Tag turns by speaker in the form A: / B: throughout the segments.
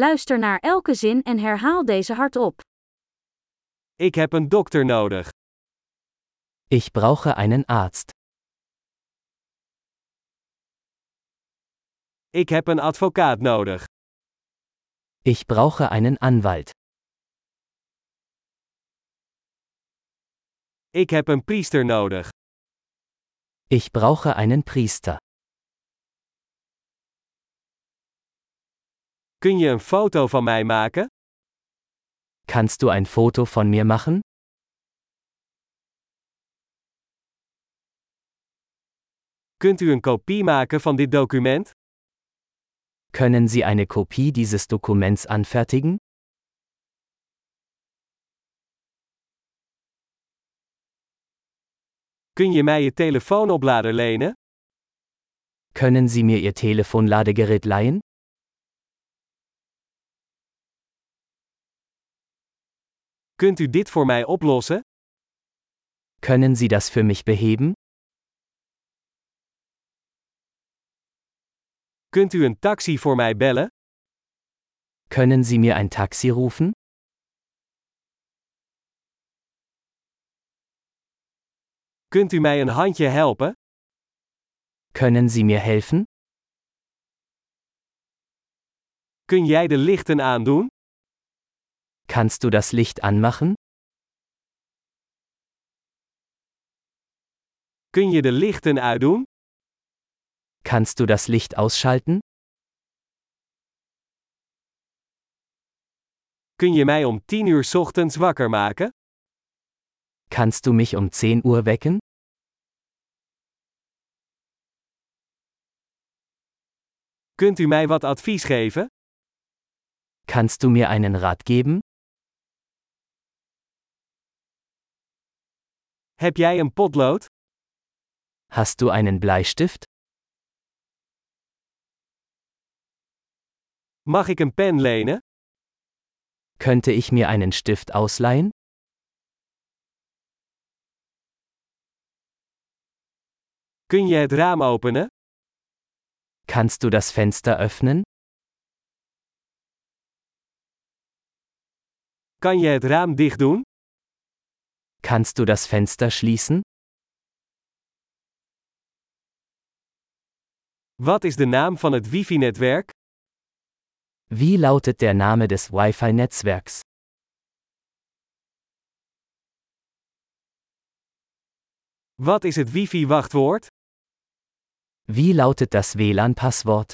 A: Luister naar elke zin en herhaal deze hardop.
B: Ik heb een dokter nodig.
C: Ich brauche einen Arzt.
B: Ik heb een advocaat nodig.
C: Ich brauche einen Anwalt.
B: Ik heb een priester nodig.
C: Ich brauche einen Priester.
B: Kun je een foto van mij maken?
C: Kannst du ein Foto von mir machen?
B: Kunt u een kopie maken van dit document?
C: Können Sie eine Kopie dieses Dokuments anfertigen?
B: Kun je mij je telefoonoplader lenen?
C: Können Sie mir Ihr Telefonladegerät leihen?
B: Kunt u dit voor mij oplossen?
C: Können Sie das für mich beheben?
B: Kunt u een taxi voor mij bellen?
C: Können Sie mir ein Taxi rufen?
B: Kunt u mij een handje helpen?
C: Können Sie mir helfen?
B: Kun jij de lichten aandoen?
C: Kannst du das Licht anmachen?
B: Kun je de lichten uitdoen?
C: Kannst du das Licht ausschalten?
B: Kun je mij om 10 uur 's ochtends wakker maken?
C: Kannst du mich um 10 Uhr wecken?
B: Kunt u mij wat advies geven?
C: Kannst du mir einen Rat geben?
B: Heb jij een potlood?
C: Hast du einen Bleistift?
B: Mag ik een pen lenen?
C: Könnte ich mir einen Stift ausleihen?
B: Kun je het raam openen?
C: Kannst du das Fenster öffnen?
B: Kan je het raam dicht doen?
C: Kannst du das Fenster schließen?
B: Wat is de naam van het wifi-netwerk?
C: Wie lautet der Name des Wi-Fi-Netzwerks?
B: Wat is het wifi-wachtwoord?
C: Wie lautet das WLAN-Passwort?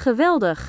A: Geweldig!